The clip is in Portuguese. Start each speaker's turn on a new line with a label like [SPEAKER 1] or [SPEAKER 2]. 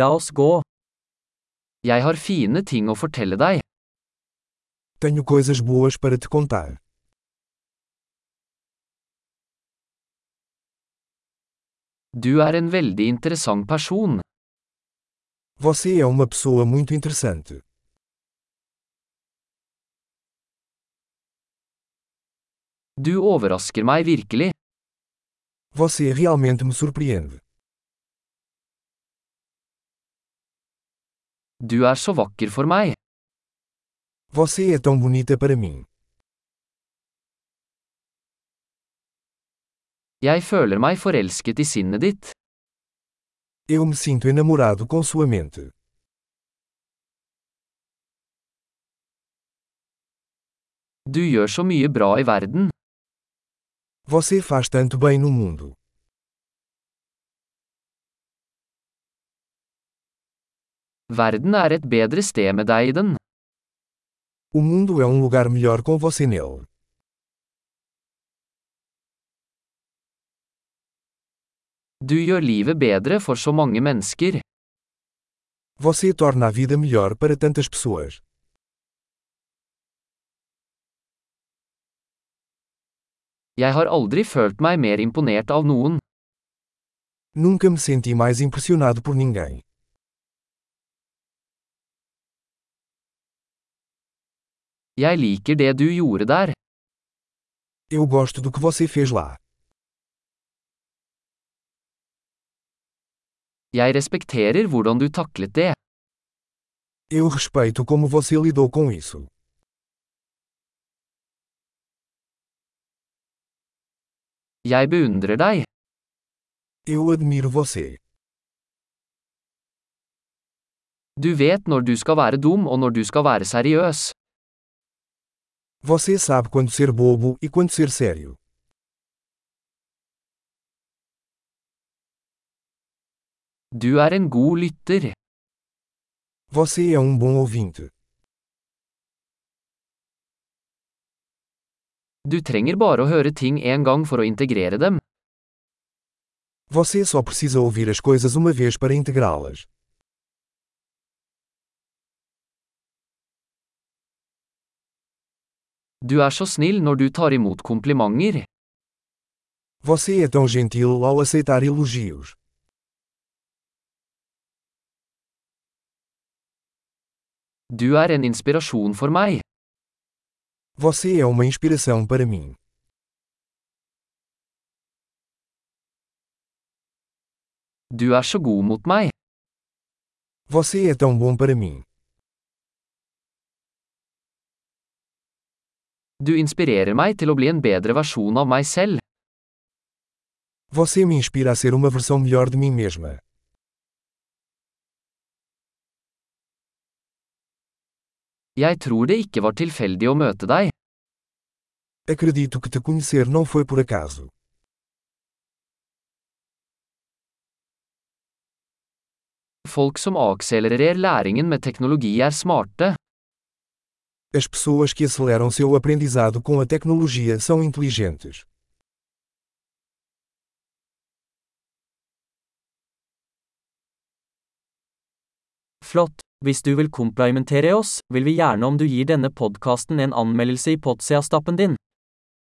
[SPEAKER 1] La oss gå. Jeg har fine ting å fortelle deg.
[SPEAKER 2] Tenho coisas boas para te contar.
[SPEAKER 1] Du er en veldig interessant person.
[SPEAKER 2] Você é uma pessoa muito interessante.
[SPEAKER 1] Du overrasker meg virkelig.
[SPEAKER 2] Você realmente me surpreende.
[SPEAKER 1] Du er så vakker for meg.
[SPEAKER 2] Você é tão bonita para mim.
[SPEAKER 1] Jeg føler meg forelsket i sinnet ditt.
[SPEAKER 2] Eu me sinto enamorado com sua mente.
[SPEAKER 1] Du gjør så mye bra i verden.
[SPEAKER 2] Você faz tanto bem no mundo.
[SPEAKER 1] Verden er et bedre sted med deg i den.
[SPEAKER 2] O mundo é um lugar melhor com você nele.
[SPEAKER 1] Du gjør livet bedre for så mange mennesker.
[SPEAKER 2] Você torna a vida melhor para tantas pessoas.
[SPEAKER 1] Jeg har aldri følt meg mer imponert av noen.
[SPEAKER 2] Nunca me senti mais impressionado por ninguém.
[SPEAKER 1] Jeg liker det du gjorde der.
[SPEAKER 2] Eu gosto do que você fez lá.
[SPEAKER 1] Jeg respekterer hvordan du taklet det.
[SPEAKER 2] Eu respeito como você lidou com isso.
[SPEAKER 1] Jeg beundrer deg.
[SPEAKER 2] Eu admiro você.
[SPEAKER 1] Du vet når du skal være dum og når du skal være seriøs.
[SPEAKER 2] Você sabe quando ser bobo e quando ser sério.
[SPEAKER 1] Du er en god lytter.
[SPEAKER 2] Você é um bom ouvinte.
[SPEAKER 1] Du trenger bare å høre ting en gang for å integrere dem.
[SPEAKER 2] Você só precisa ouvir as coisas uma vez para integrá-las.
[SPEAKER 1] Du er så snill når du tar imot komplimenter.
[SPEAKER 2] Você é tão gentil ao aceitar elogios.
[SPEAKER 1] Du er en inspirasjon for meg.
[SPEAKER 2] Você é uma inspiração para mim.
[SPEAKER 1] Du er så god mot meg.
[SPEAKER 2] Você é tão bom para mim.
[SPEAKER 1] Du inspirerer meg til å bli en bedre versjon av meg selv.
[SPEAKER 2] Você me inspira a ser uma versão melhor de mim mesma.
[SPEAKER 1] Jeg tror det ikke var tilfeldig å møte deg.
[SPEAKER 2] Acredito que te conhecer não foi por acaso.
[SPEAKER 1] Folk som akselererer læringen med teknologi er smarte.
[SPEAKER 2] As pessoas que aceleram seu aprendizado com a tecnologia são inteligentes.
[SPEAKER 3] Flott! Hvis du vil komplimentere oss, vil vi gjerne om du gir denne podkasten en anmeldelse i Podseastappen din.